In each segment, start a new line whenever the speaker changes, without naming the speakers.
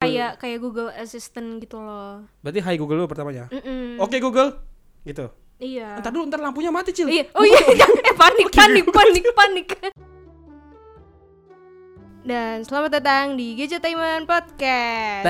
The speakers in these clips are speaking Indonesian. kayak kayak Google Assistant gitu loh.
Berarti hai Google dulu pertamanya.
Mm-mm.
Oke Google. Gitu.
Iya.
Entar dulu, entar lampunya mati, Cil.
Iya, oh iya, jangan- eh, panik, panik, panik, panik. Dan selamat datang di Gadgetaiman Podcast.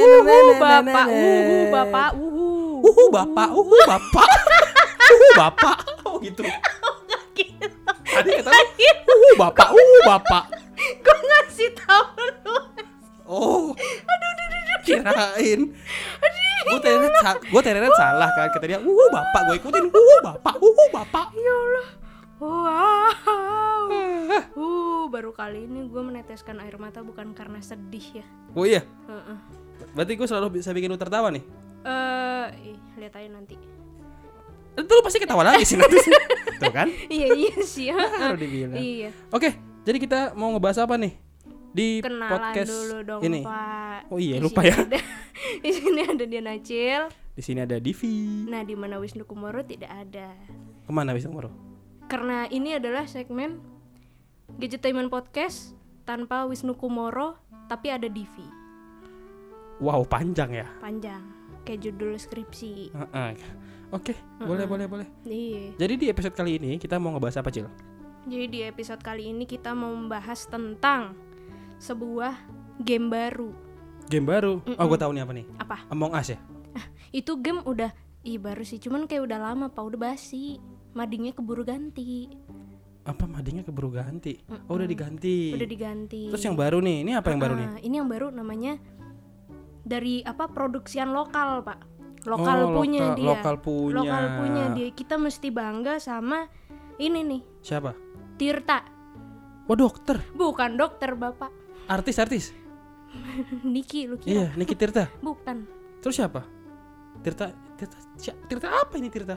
Wuhu bapak, wuhu bapak, wuhu.
Uhu bapak, uhu bapak. Uhu bapak. Oh gitu.
Gitu.
Tadi kata uhu bapak, uhu bapak.
Gue ngasih tau lu.
Oh. Kirain. Gue ternyata sa- gua ternyata salah kan. Kata dia uhu bapak, gue ikutin uhu bapak, uhu bapak.
Ya Allah. Wow. Uh, baru kali ini gue meneteskan air mata bukan karena sedih ya.
Oh iya.
Heeh.
Berarti gue selalu bisa bikin lu tertawa nih.
Eh, ih, lihat aja nanti.
Itu lu pasti ketawa lagi sih nanti. Tuh kan?
Iya iya sih.
Baru
heeh.
dibilang.
Iya.
Oke, jadi kita mau ngebahas apa nih di
Kenalan
podcast
dulu dong
ini?
Pak.
Oh iya,
Di
lupa
sini
ya.
Ada, di sini ada Dian Acil.
Di sini ada Divi.
Nah, di mana Wisnu Kumoro tidak ada.
Kemana bisa Moro?
Karena ini adalah segmen Gadgetainment Podcast tanpa Wisnu Kumoro tapi ada Divi.
Wow, panjang ya.
Panjang kayak judul skripsi.
Heeh. Oke, boleh boleh boleh.
Iya.
Jadi di episode kali ini kita mau ngebahas apa, Cil?
Jadi di episode kali ini kita mau membahas tentang sebuah game baru.
Game baru. Oh, gue tahu nih apa nih.
Apa?
Among Us ya.
Itu game udah Ih baru sih, cuman kayak udah lama pak, udah basi Madingnya keburu ganti
Apa madingnya keburu ganti? Oh, udah diganti.
Udah diganti
Terus yang baru nih, ini apa yang baru nih?
Nah, Ini yang baru namanya Dari apa, produksian lokal pak Lokal
Oh,
punya
lokal-
dia
lokal punya.
Lokal punya dia, kita mesti bangga sama Ini nih,
Siapa?
Tirta
Wah, dokter.
Bukan dokter bapak
Artis-artis.
Niki lu kira?
Iya, Niki Tirta.
Bukan
Terus siapa? Tirta Tirta si- Tirta apa ini Tirta?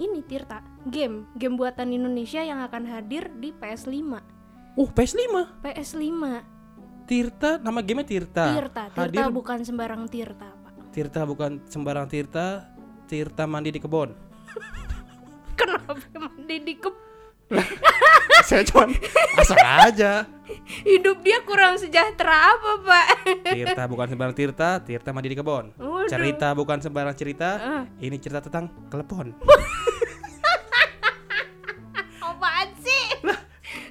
Ini Tirta, game Game buatan Indonesia yang akan hadir di PS5
Oh, PS5.
PS5
Tirta nama gamenya Tirta.
Tirta, Tirta
Nah, Hadir
bukan sembarang Tirta pak
Tirta bukan sembarang Tirta, Tirta mandi di kebun.
Kenapa emang Deddy Kep-
Saya cuman asal aja.
hidup dia kurang sejahtera apa pak?
Tirta bukan sembarang Tirta, Tirta mandi di kebun.
Waduh.
Cerita bukan sembarang cerita,
Ah.
ini cerita tentang kelepon.
Apaan sih?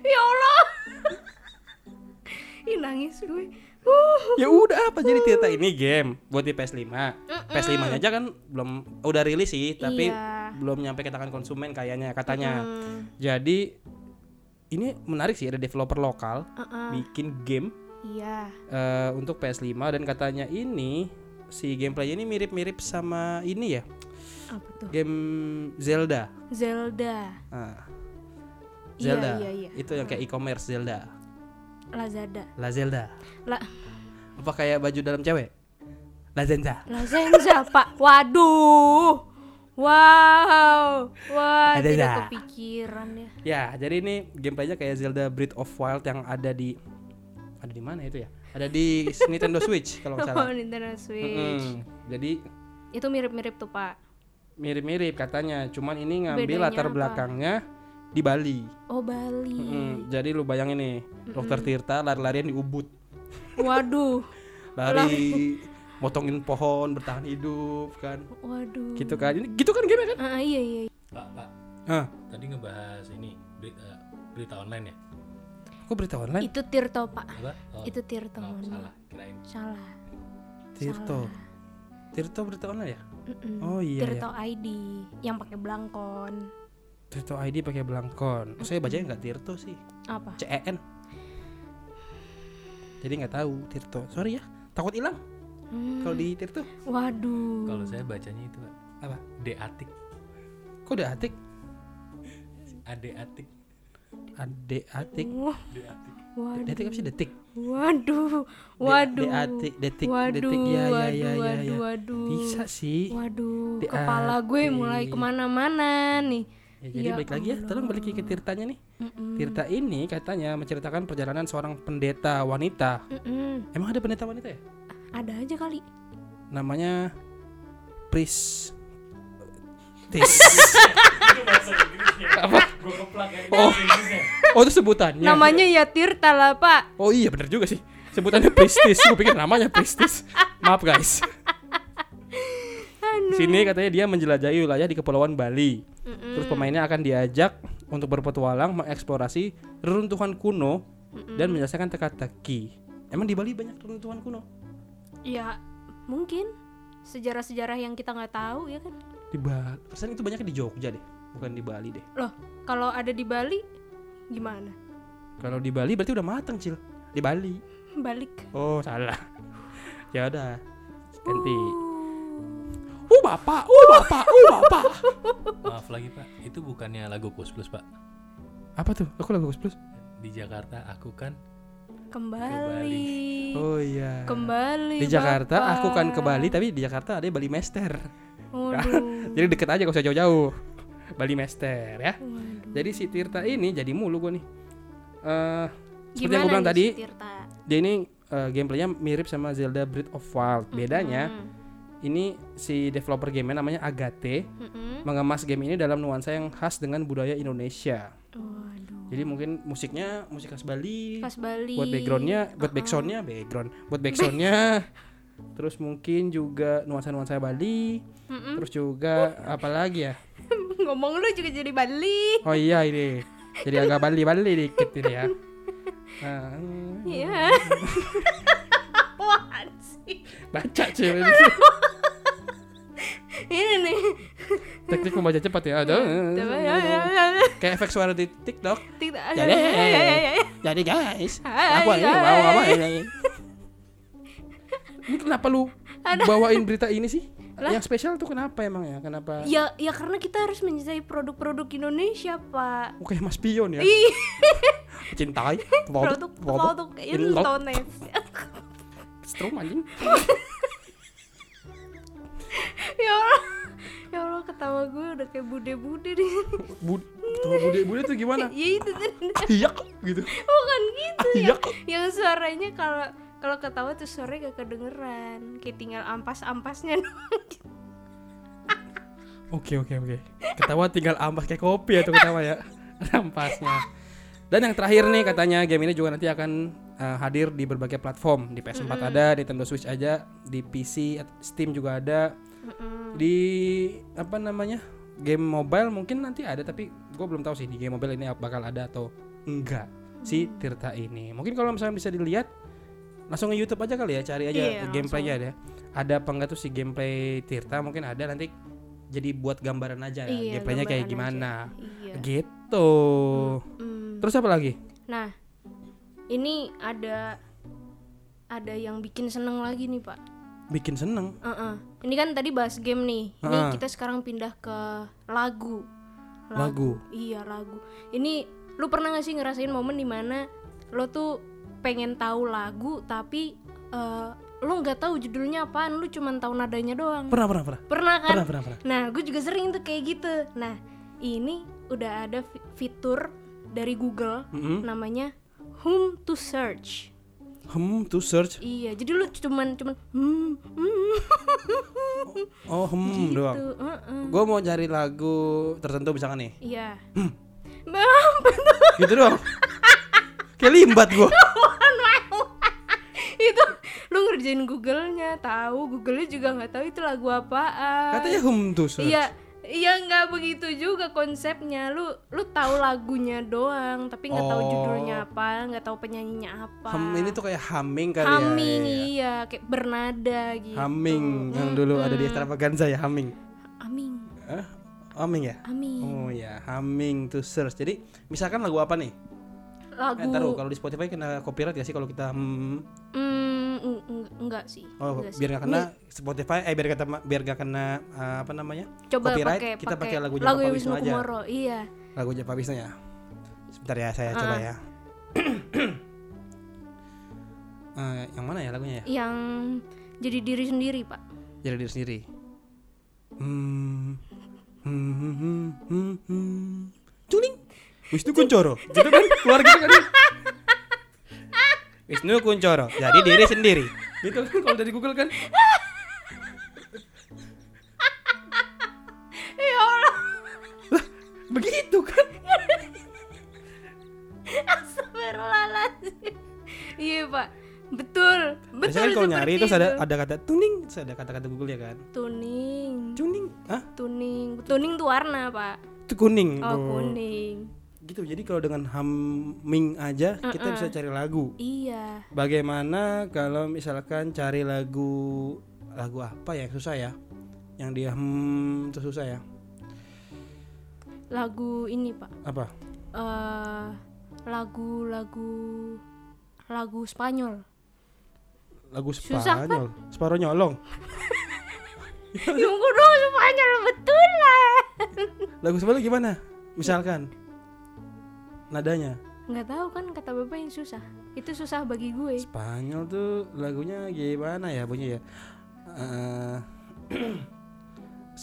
ya Allah. Ih nangis gue. Uh.
ya udah apa jadi Tirta ini game buat di PS5. PS5 aja kan belum udah rilis sih, tapi
Iya.
belum nyampe ke tangan konsumen kayaknya katanya. Jadi ini menarik sih ada developer lokal bikin game
Iya.
eh, untuk PS5 dan katanya ini si gameplay ini mirip-mirip sama ini ya
Apa tuh?
game Zelda.
Zelda,
Ah,
Iya,
Zelda
iya, iya.
itu yang kayak e-commerce Zelda,
Lazada,
La Zelda.
La
Apa kayak baju dalam cewek? La Zenza.
Lazenza pak. Waduh. Wow. Wah
Lazada.
tidak kepikiran ya.
Ya jadi ini gameplaynya kayak Zelda Breath of Wild yang ada di ada di mana itu ya? Ada di Nintendo Switch kalau nggak
Oh,
salah.
Nintendo Switch.
Mm-mm. Jadi
Itu mirip-mirip tuh pak.
mirip-mirip katanya, cuman ini ngambil
Bedanya
latar
apa?
belakangnya di Bali.
Oh Bali.
Mm, jadi lu bayangin nih, dokter Tirta lari-larian di Ubud.
Waduh.
Lari motongin pohon bertahan hidup kan.
Waduh.
Gitu kan. Ini gitu kan game kan?
Ah, iya iya. iya.
Pak, Pak,
Hah,
tadi ngebahas ini beri- eh, berita online ya?
kok berita online?
Itu Tirto pak.
Apa? Oh,
Itu Tirto.
oh,
mohon
salah,
maaf.
kirain.
Salah.
Tirto. Tirto berita online ya?
Mm-mm.
Oh
Hmm,
iya ya.
Tirto ID yang pakai belangkon.
Tirto ID pakai belangkon. Oh, saya bacanya nggak Tirto sih.
Apa?
CEN. Jadi nggak tahu Tirto. Sorry ya. Takut hilang
Hmm,
kalau di Tirto.
Waduh.
Kalau saya bacanya itu, Pak,
Apa?
deatik,
Kok ada atik?
adeatik,
Ade atik.
Wah,
deatik.
Waduh.
Detik apa sih detik?
Waduh. Waduh.
deatik, detik,
waduh,
detik. Ya, ya, ya,
waduh,
ya,
waduh,
ya.
waduh.
Bisa sih.
Waduh,
Deatik.
kepala gue mulai kemana-mana nih.
Ya, jadi
Ya
balik lagi ya, tolong balik ke Tirtanya nih. Tirta ini katanya menceritakan perjalanan seorang pendeta wanita.
Mm-mm.
Emang ada pendeta wanita ya?
Ada aja kali.
Namanya Pris Tis. Apa? Oh. oh itu sebutannya.
Namanya ya Tirta lah, Pak.
Oh iya bener juga sih. sebutannya Pristis gue pikir namanya Pristis maaf guys sini katanya dia menjelajahi wilayah di kepulauan Bali terus pemainnya akan diajak untuk berpetualang mengeksplorasi reruntuhan kuno dan menyelesaikan teka-teki emang di Bali banyak reruntuhan kuno
Ya mungkin sejarah-sejarah yang kita nggak tahu ya kan.
di Bali persen itu banyak di Jogja deh bukan di Bali deh
Loh kalau ada di Bali gimana?
kalau di Bali berarti udah mateng cil di Bali
Balik.
oh salah ya udah ganti
Uh.
uh bapak uh bapak uh bapak
Maaf lagi pak, itu bukannya lagu Kus Plus pak.
apa tuh aku lagu Gus plus
Di Jakarta aku kan
Kembali.
oh iya
Kembali.
di Jakarta
Bapak.
aku kan ke Bali tapi di Jakarta ada Bali Master
Waduh.
jadi deket aja gak usah jauh-jauh Bali Master ya
Waduh.
jadi si Tirta ini jadi mulu gue nih eh seperti yang
Gimana
gue bilang
nih,
tadi
si Tirta?
dia ini eh, gameplaynya mirip sama Zelda Breath of Wild bedanya
Mm-mm.
ini si developer game namanya Agate
Mm-mm.
mengemas game ini dalam nuansa yang khas dengan budaya Indonesia
Waduh.
jadi mungkin musiknya musik khas Bali
Pas Bali. Uh-uh.
buat backgroundnya buat backsoundnya background buat backsoundnya terus mungkin juga nuansa-nuansa Bali
Mm-mm.
terus juga
Uh.
apa lagi ya
Ngomong lu juga jadi Bali.
oh iya ini jadi agak Bali Bali dikit ini ya Nah,
Iya. Apaan sih?
baca cuy
Ini nih.
teknik membaca cepat ya ada
Coba, ya, ya, ya, ya.
kayak efek suara di TikTok
Tidak Ya,
Jadi, jadi guys aku hari ini
guys.
bawa bawa ini ini kenapa lu bawain berita ini sih yang spesial tuh kenapa emang ya kenapa
Ya, ya karena kita harus mencintai produk-produk Indonesia, Pak.
Oke, Mas Pion ya.
Ih,
Cintai.
produk-produk
Ilot.
Indonesia.
Strom anjing.
ya Allah, ya Allah ketawa gue udah kayak bude-bude di sini.
Bud, ketawa bude bude tuh gimana?
Ya itu tadi.
Iyak gitu.
bukan gitu ya.
Ayak.
Yang suaranya kalau kalau ketawa tuh suaranya gak kedengeran, kayak tinggal ampas-ampasnya doang.
Oke oke oke. Ketawa tinggal ampas kayak kopi ya tuh ketawa ya. Ampasnya. Dan yang terakhir nih katanya game ini juga nanti akan eh, hadir di berbagai platform. Di PS4 ada, di Nintendo Switch aja, di PC, at- Steam juga ada. Di apa namanya? Game mobile mungkin nanti ada tapi gue belum tahu sih di game mobile ini bakal ada atau enggak si
Hmm.
Tirta ini. Mungkin kalau misalnya bisa dilihat langsung ke YouTube aja kali ya, cari aja
Iya,
gameplaynya gameplaynya ada. Ada apa enggak tuh si gameplay Tirta mungkin ada nanti jadi buat gambaran aja ya,
Iya,
gameplaynya kayak
gambaran
gimana
aja. Iya.
gitu
Hmm.
terus apa lagi
Nah, ini ada ada yang bikin seneng lagi nih pak.
bikin seneng
Uh-uh. Ini kan tadi bahas game nih. Ini
Uh-uh.
kita sekarang pindah ke lagu.
lagu
Iya lagu. Ini lu pernah gak sih ngerasain momen dimana lu tuh pengen tahu lagu tapi uh, lu nggak tahu judulnya apaan, lu cuman tahu nadanya doang.
pernah pernah pernah
pernah kan?
pernah pernah pernah
Nah, gue juga sering tuh kayak gitu. Nah, ini udah ada fi- fitur dari Google
Mm-mm.
namanya Whom to Search.
hmm to search
Iya, jadi lu cuman cuman hmm, hmm,
oh hmm doang
tuh, uh-uh.
gue mau cari lagu tertentu misalkan nih
Iya.
Hmm.
Bang, betul.
gitu doang kayak limbat gue
Iya. itu lu ngerjain Google-nya, tahu Google-nya juga nggak tahu itu lagu apaan.
katanya hmm to search
Iya, iya nggak begitu juga konsepnya. Lu lu tahu lagunya doang, tapi nggak tahu
Oh.
judulnya apa, nggak tahu penyanyinya apa.
Hum ini tuh kayak humming kali
Humming,
ya iya, iya.
iya, kayak bernada gitu.
humming yang dulu ada di extravaganza ya humming
Aming,
Hah? humming ya
aming.
oh ya humming to search jadi misalkan lagu apa nih Eh,
Lagu.
taruh kalau di Spotify kena copyright gak sih kalau kita hmm,
Hmm, eng- eng- enggak sih.
Oh,
enggak sih.
biar gak kena Spotify, eh biar gak kena, biar gak kena eh, apa namanya?
Coba
copyright,
pakai
kita pakai lagunya
lagu
Papa
Wisnu
Wisnu aja.
Kumoro. Iya.
Lagunya Pak Wisnu ya. Sebentar ya, saya
Ah.
coba ya. Eh, yang mana ya lagunya ya?
Yang jadi diri sendiri, Pak.
Jadi diri sendiri. Hmm. Hmm, hmm, hmm, hmm, hmm. Culing. Wisnu Kuncoro. Gitu kan? Keluar gitu kan? Wisnu Kuncoro. Jadi diri sendiri. Gitu kan kalau dari Google kan?
Ya Allah.
Begitu kan?
Astagfirullahaladzim. Iya, Pak. Bet-
kan
Betul,
kalau
seperti
nyari terus ada
itu.
ada kata tuning, terus ada kata-kata Google ya kan.
tuning
Tuning, ah,
tuning tuning tuh warna pak
itu kuning.
oh
tuh.
kuning
Gitu. Jadi kalau dengan humming aja kita bisa cari lagu.
iya
Bagaimana kalau misalkan cari lagu lagu apa ya yang susah ya? Yang dia hmm terus susah ya.
lagu ini pak
Apa?
eh lagu-lagu lagu Spanyol
Lagu
Susah,
Spanyol. Spanyol nyolong.
tunggu dong Spanyol betul lah
Lagu Spanyol gimana? Misalkan nadanya
nggak tahu kan kata bapak yang susah itu susah bagi gue
Spanyol tuh lagunya gimana ya bunyinya ya? Eh,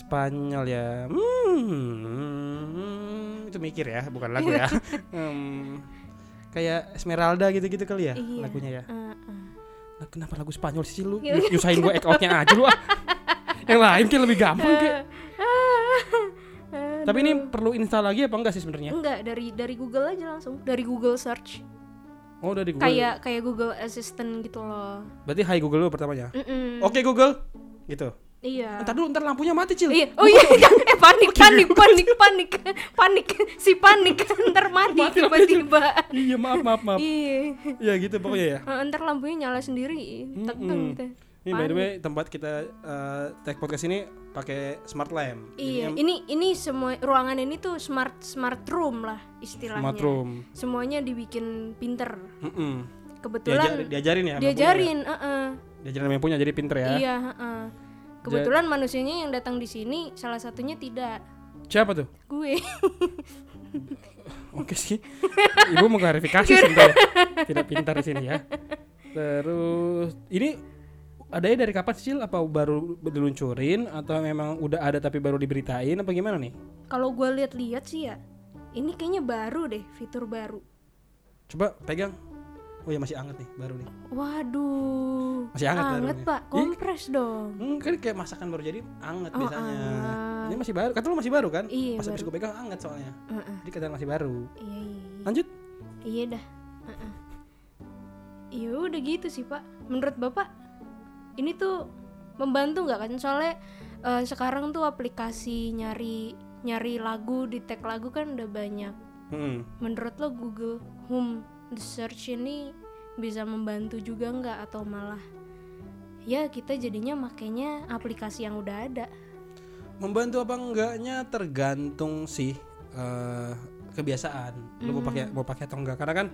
Spanyol ya. Hmm, itu mikir ya, bukan lagu ya. Hmm, kayak Esmeralda gitu-gitu kali ya
Iya.
lagunya ya.
Eh, eh.
Lah, Kenapa lagu Spanyol sih lu?
Iya.
Nyusahin gue act outnya aja lu ah. Yang lain kan lebih gampang kayak. Tapi ini perlu install lagi apa enggak sih sebenarnya?
enggak dari dari Google aja langsung dari Google search
Oh, dari Google.
kayak kayak Google Assistant gitu loh
Berarti hai Google dulu pertamanya.
Mm-mm.
Oke Google. Gitu.
iya
Entar dulu, ntar lampunya mati, Cil.
Iya, oh iya, iya. eh panik, panik, panik, panik, panik, si panik, ntar mati tiba-tiba.
Iya, maaf, maaf, maaf.
Iya,
Iya gitu pokoknya ya.
Eh, ntar lampunya nyala sendiri, tegang gitu.
Ini by the way tempat kita eh, take podcast ini pakai smart lamp.
Iya,
Jadinya
ini ini semua ruangan ini tuh smart smart room lah istilahnya.
smart room.
Semuanya dibikin pinter.
Mm-mm. Diajar-
Kebetulan
diajarin ya. sama
diajarin, heeh.
punya. Diajarin sama yang punya jadi pinter ya.
iya heeh. Kebetulan manusianya yang datang di sini salah satunya tidak
Siapa tuh?
gue.
Oke sih. Ibu mau klarifikasi sebentar. ya. Tidak pintar di sini ya. Terus ini adanya dari kapan sih Cil? Apa baru diluncurin atau memang udah ada tapi baru diberitain apa gimana nih?
Kalau gue lihat-lihat sih ya, ini kayaknya baru deh fitur baru.
Coba pegang. Oh ya masih anget nih, baru nih.
Waduh.
Masih hangat kan Iya. baru nih.
pak,
Ih.
kompres dong.
Hmm, kan kayak masakan baru jadi anget
Oh,
biasanya.
anget.
Ini masih baru. Kata lu masih baru kan?
Iya,
Pas habis gue pegang anget soalnya.
Heeh.
Jadi kata masih baru.
Iya, iya, iya.
Lanjut.
Iya dah. Heeh. Iya udah gitu sih pak. Menurut bapak, ini tuh membantu nggak kan? Soalnya eh, sekarang tuh aplikasi nyari nyari lagu, di tag lagu kan udah banyak.
Hmm.
Menurut lo Google Home the Search ini bisa membantu juga nggak atau malah ya kita jadinya makainya aplikasi yang udah ada.
Membantu apa enggaknya tergantung sih eh, kebiasaan. Lu mau pakai mau pakai atau enggak? Karena kan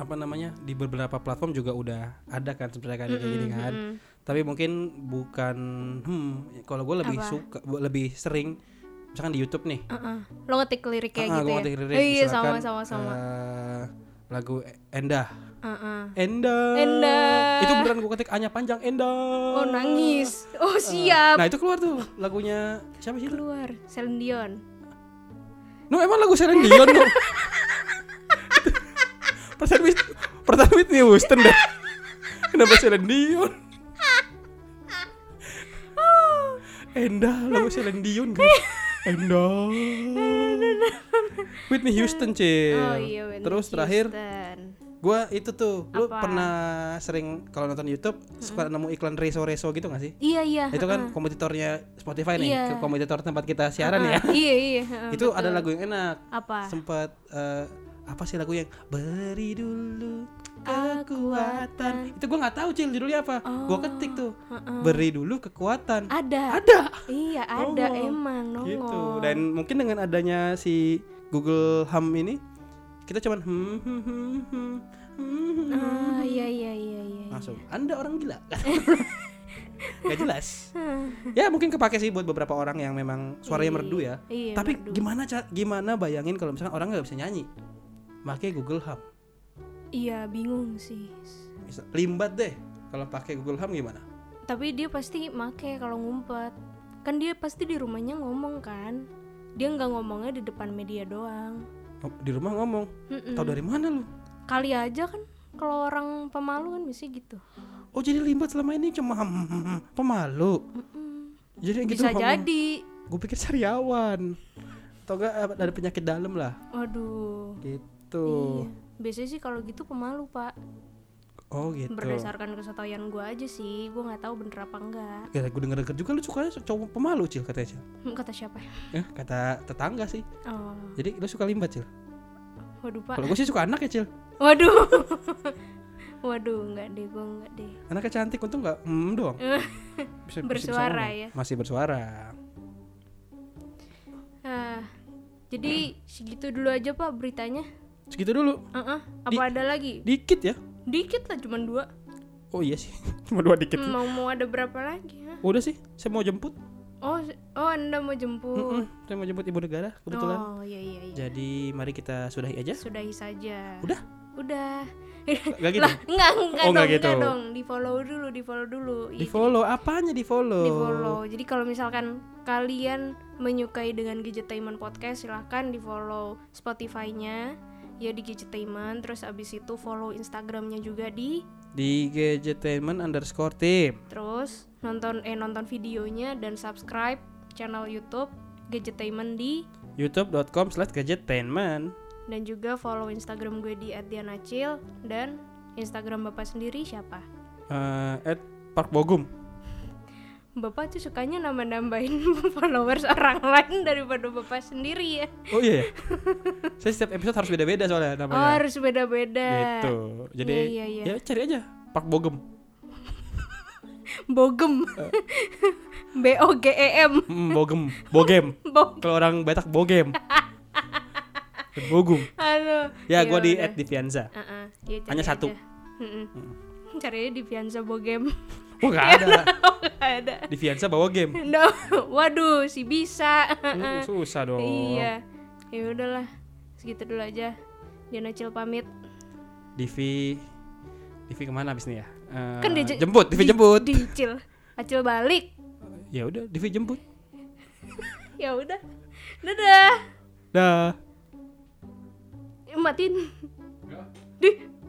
apa namanya di beberapa platform juga udah ada kan sebenarnya kan kayak gini kan. Tapi mungkin bukan hmm kalau gue lebih suka lebih sering misalkan di YouTube nih.
Heeh. Lo ngetik lirik kayak
Ah,
gitu
gua
ya?
ngetik lirik,
Oh, iya sama
misalkan,
sama sama.
eh, lagu Endah.
Heeh.
Endah.
Endah.
Itu beneran gue ketik A-nya panjang Endah.
Oh nangis. Oh siap.
Nah, itu keluar tuh lagunya siapa sih itu?
keluar Celine Dion
No, emang lagu Celine Dion no. Pertama pertama Whitney Houston dah. Kenapa Celine Dion? Endah lagu Celine Dion kan. Endah. Whitney Houston, Cil.
oh iya Whitney
Terus terakhir
Houston.
Gua itu tuh, lu
Apa?
pernah sering kalau nonton YouTube suka nemu iklan reso reso gitu gak sih?
iya iya
Itu kan kompetitornya Spotify nih,
Iya.
ke kompetitor tempat kita siaran ya.
iya iya heeh.
Itu ada lagu yang enak.
apa
Sempat eh, apa sih lagu yang beri dulu kekuatan. Itu gua nggak tahu Cil judulnya apa. Gua ketik tuh. Beri dulu kekuatan.
ada
Ada.
iya ada
Nongol.
emang nongol
Gitu. Dan mungkin dengan adanya si Google Hum ini kita cuman hmm, hmm, hmm, hmm, hmm, hmm.
ah iya iya iya iya
langsung anda orang gila nggak jelas ya mungkin kepake sih buat beberapa orang yang memang suaranya merdu ya
iya,
tapi gimana ca- gimana bayangin kalau misalkan orang nggak bisa nyanyi pakai Google Hum
iya bingung sih
Misal- limbat deh kalau pakai Google Hum gimana
tapi dia pasti make kalau ngumpet kan dia pasti di rumahnya ngomong kan dia nggak ngomongnya di depan media doang
Oh, di rumah ngomong
Mm-mm.
tahu dari mana lu
kali aja kan kalau orang pemalu kan biasanya gitu
oh jadi limbat selama ini cuma "Hmm, hum, hum, hum, hum, pemalu jadi yang gitu
bisa jadi
gue pikir sariawan atau enggak eh, ada penyakit dalam lah
waduh
gitu
Iya. biasanya sih kalau gitu pemalu pak
Oh gitu.
berdasarkan kesetahuan gue aja sih gue nggak tahu bener apa enggak
Ya, gue denger denger juga lu sukanya cowok pemalu cil katanya cil.
Hmm, kata siapa ya?
Eh, kata tetangga sih.
oh
Jadi lu suka limbat cil.
waduh pak
Kalau gue sih suka anak ya cil.
waduh waduh nggak deh gue nggak deh
Anaknya cantik untung nggak hmm doang. Bisa- bisa- bisa
Bersuara
ngomong.
ya.
Masih bersuara.
Ah, jadi segitu dulu aja pak beritanya
Segitu dulu.
Heeh. apa ada lagi
Dikit ya.
dikit lah cuman dua
Oh iya sih. Cuma dua dikit.
mau mau ada berapa lagi ya?
Udah sih. Saya mau jemput.
oh se- oh anda mau
Mm-mm,
jemput
Saya mau jemput ibu negara kebetulan.
Hmm. oh iya iya iya
Jadi mari kita sudahi aja.
sudahi saja
Udah?
udah
Gak gitu.
lah enggak enggak
Oh,
dong
nggak
enggak
gitu.
dong di follow dulu di follow dulu
Di follow apanya di follow?
di follow jadi kalau misalkan kalian menyukai dengan Gadgetainment Podcast silahkan di follow Spotify-nya ya di Gadgetainment terus abis itu follow Instagramnya juga di
Di gadgetainment underscore team.
terus nonton eh nonton videonya dan subscribe channel YouTube Gadgetainment di
youtube.com slash gadgetainment
dan juga follow Instagram gue di @dianacil dan Instagram bapak sendiri siapa
Eh, at Park Bogum.
Bapak tuh sukanya nambah-nambahin followers orang lain daripada Bapak sendiri ya.
Oh iya ya. Saya setiap episode harus beda-beda soalnya
Oh,
namanya.
harus beda-beda.
ya? Gitu. Jadi
Iya, iya, iya.
ya cari aja Park Bogum.
Bogem.
Eh.
B O G E M.
Mm, bogem, bogem.
Bog.
Kalau orang Batak bogem. Bogum.
Halo.
Ya, gua di
udah.
at Divianza.
Uh-uh, ya, cari
Hanya
aja.
satu.
Mm-mm. Cari aja di Fianza Bogem.
Oh gak
Iya.
ada.
Nggak ada.
Divianza bawa game.
No. Waduh, si bisa.
Mm, Susah dong.
Iya. Ya udahlah. Segitu dulu aja. Diana Cil pamit.
Divi Divi kemana abis nih ya? Eh,
Kan dia je-
jemput, Divi
di-
jemput.
Di Cil. Acil balik.
Ya udah, Divi jemput.
Ya udah. Dadah.
Dah.
Matiin. Dih,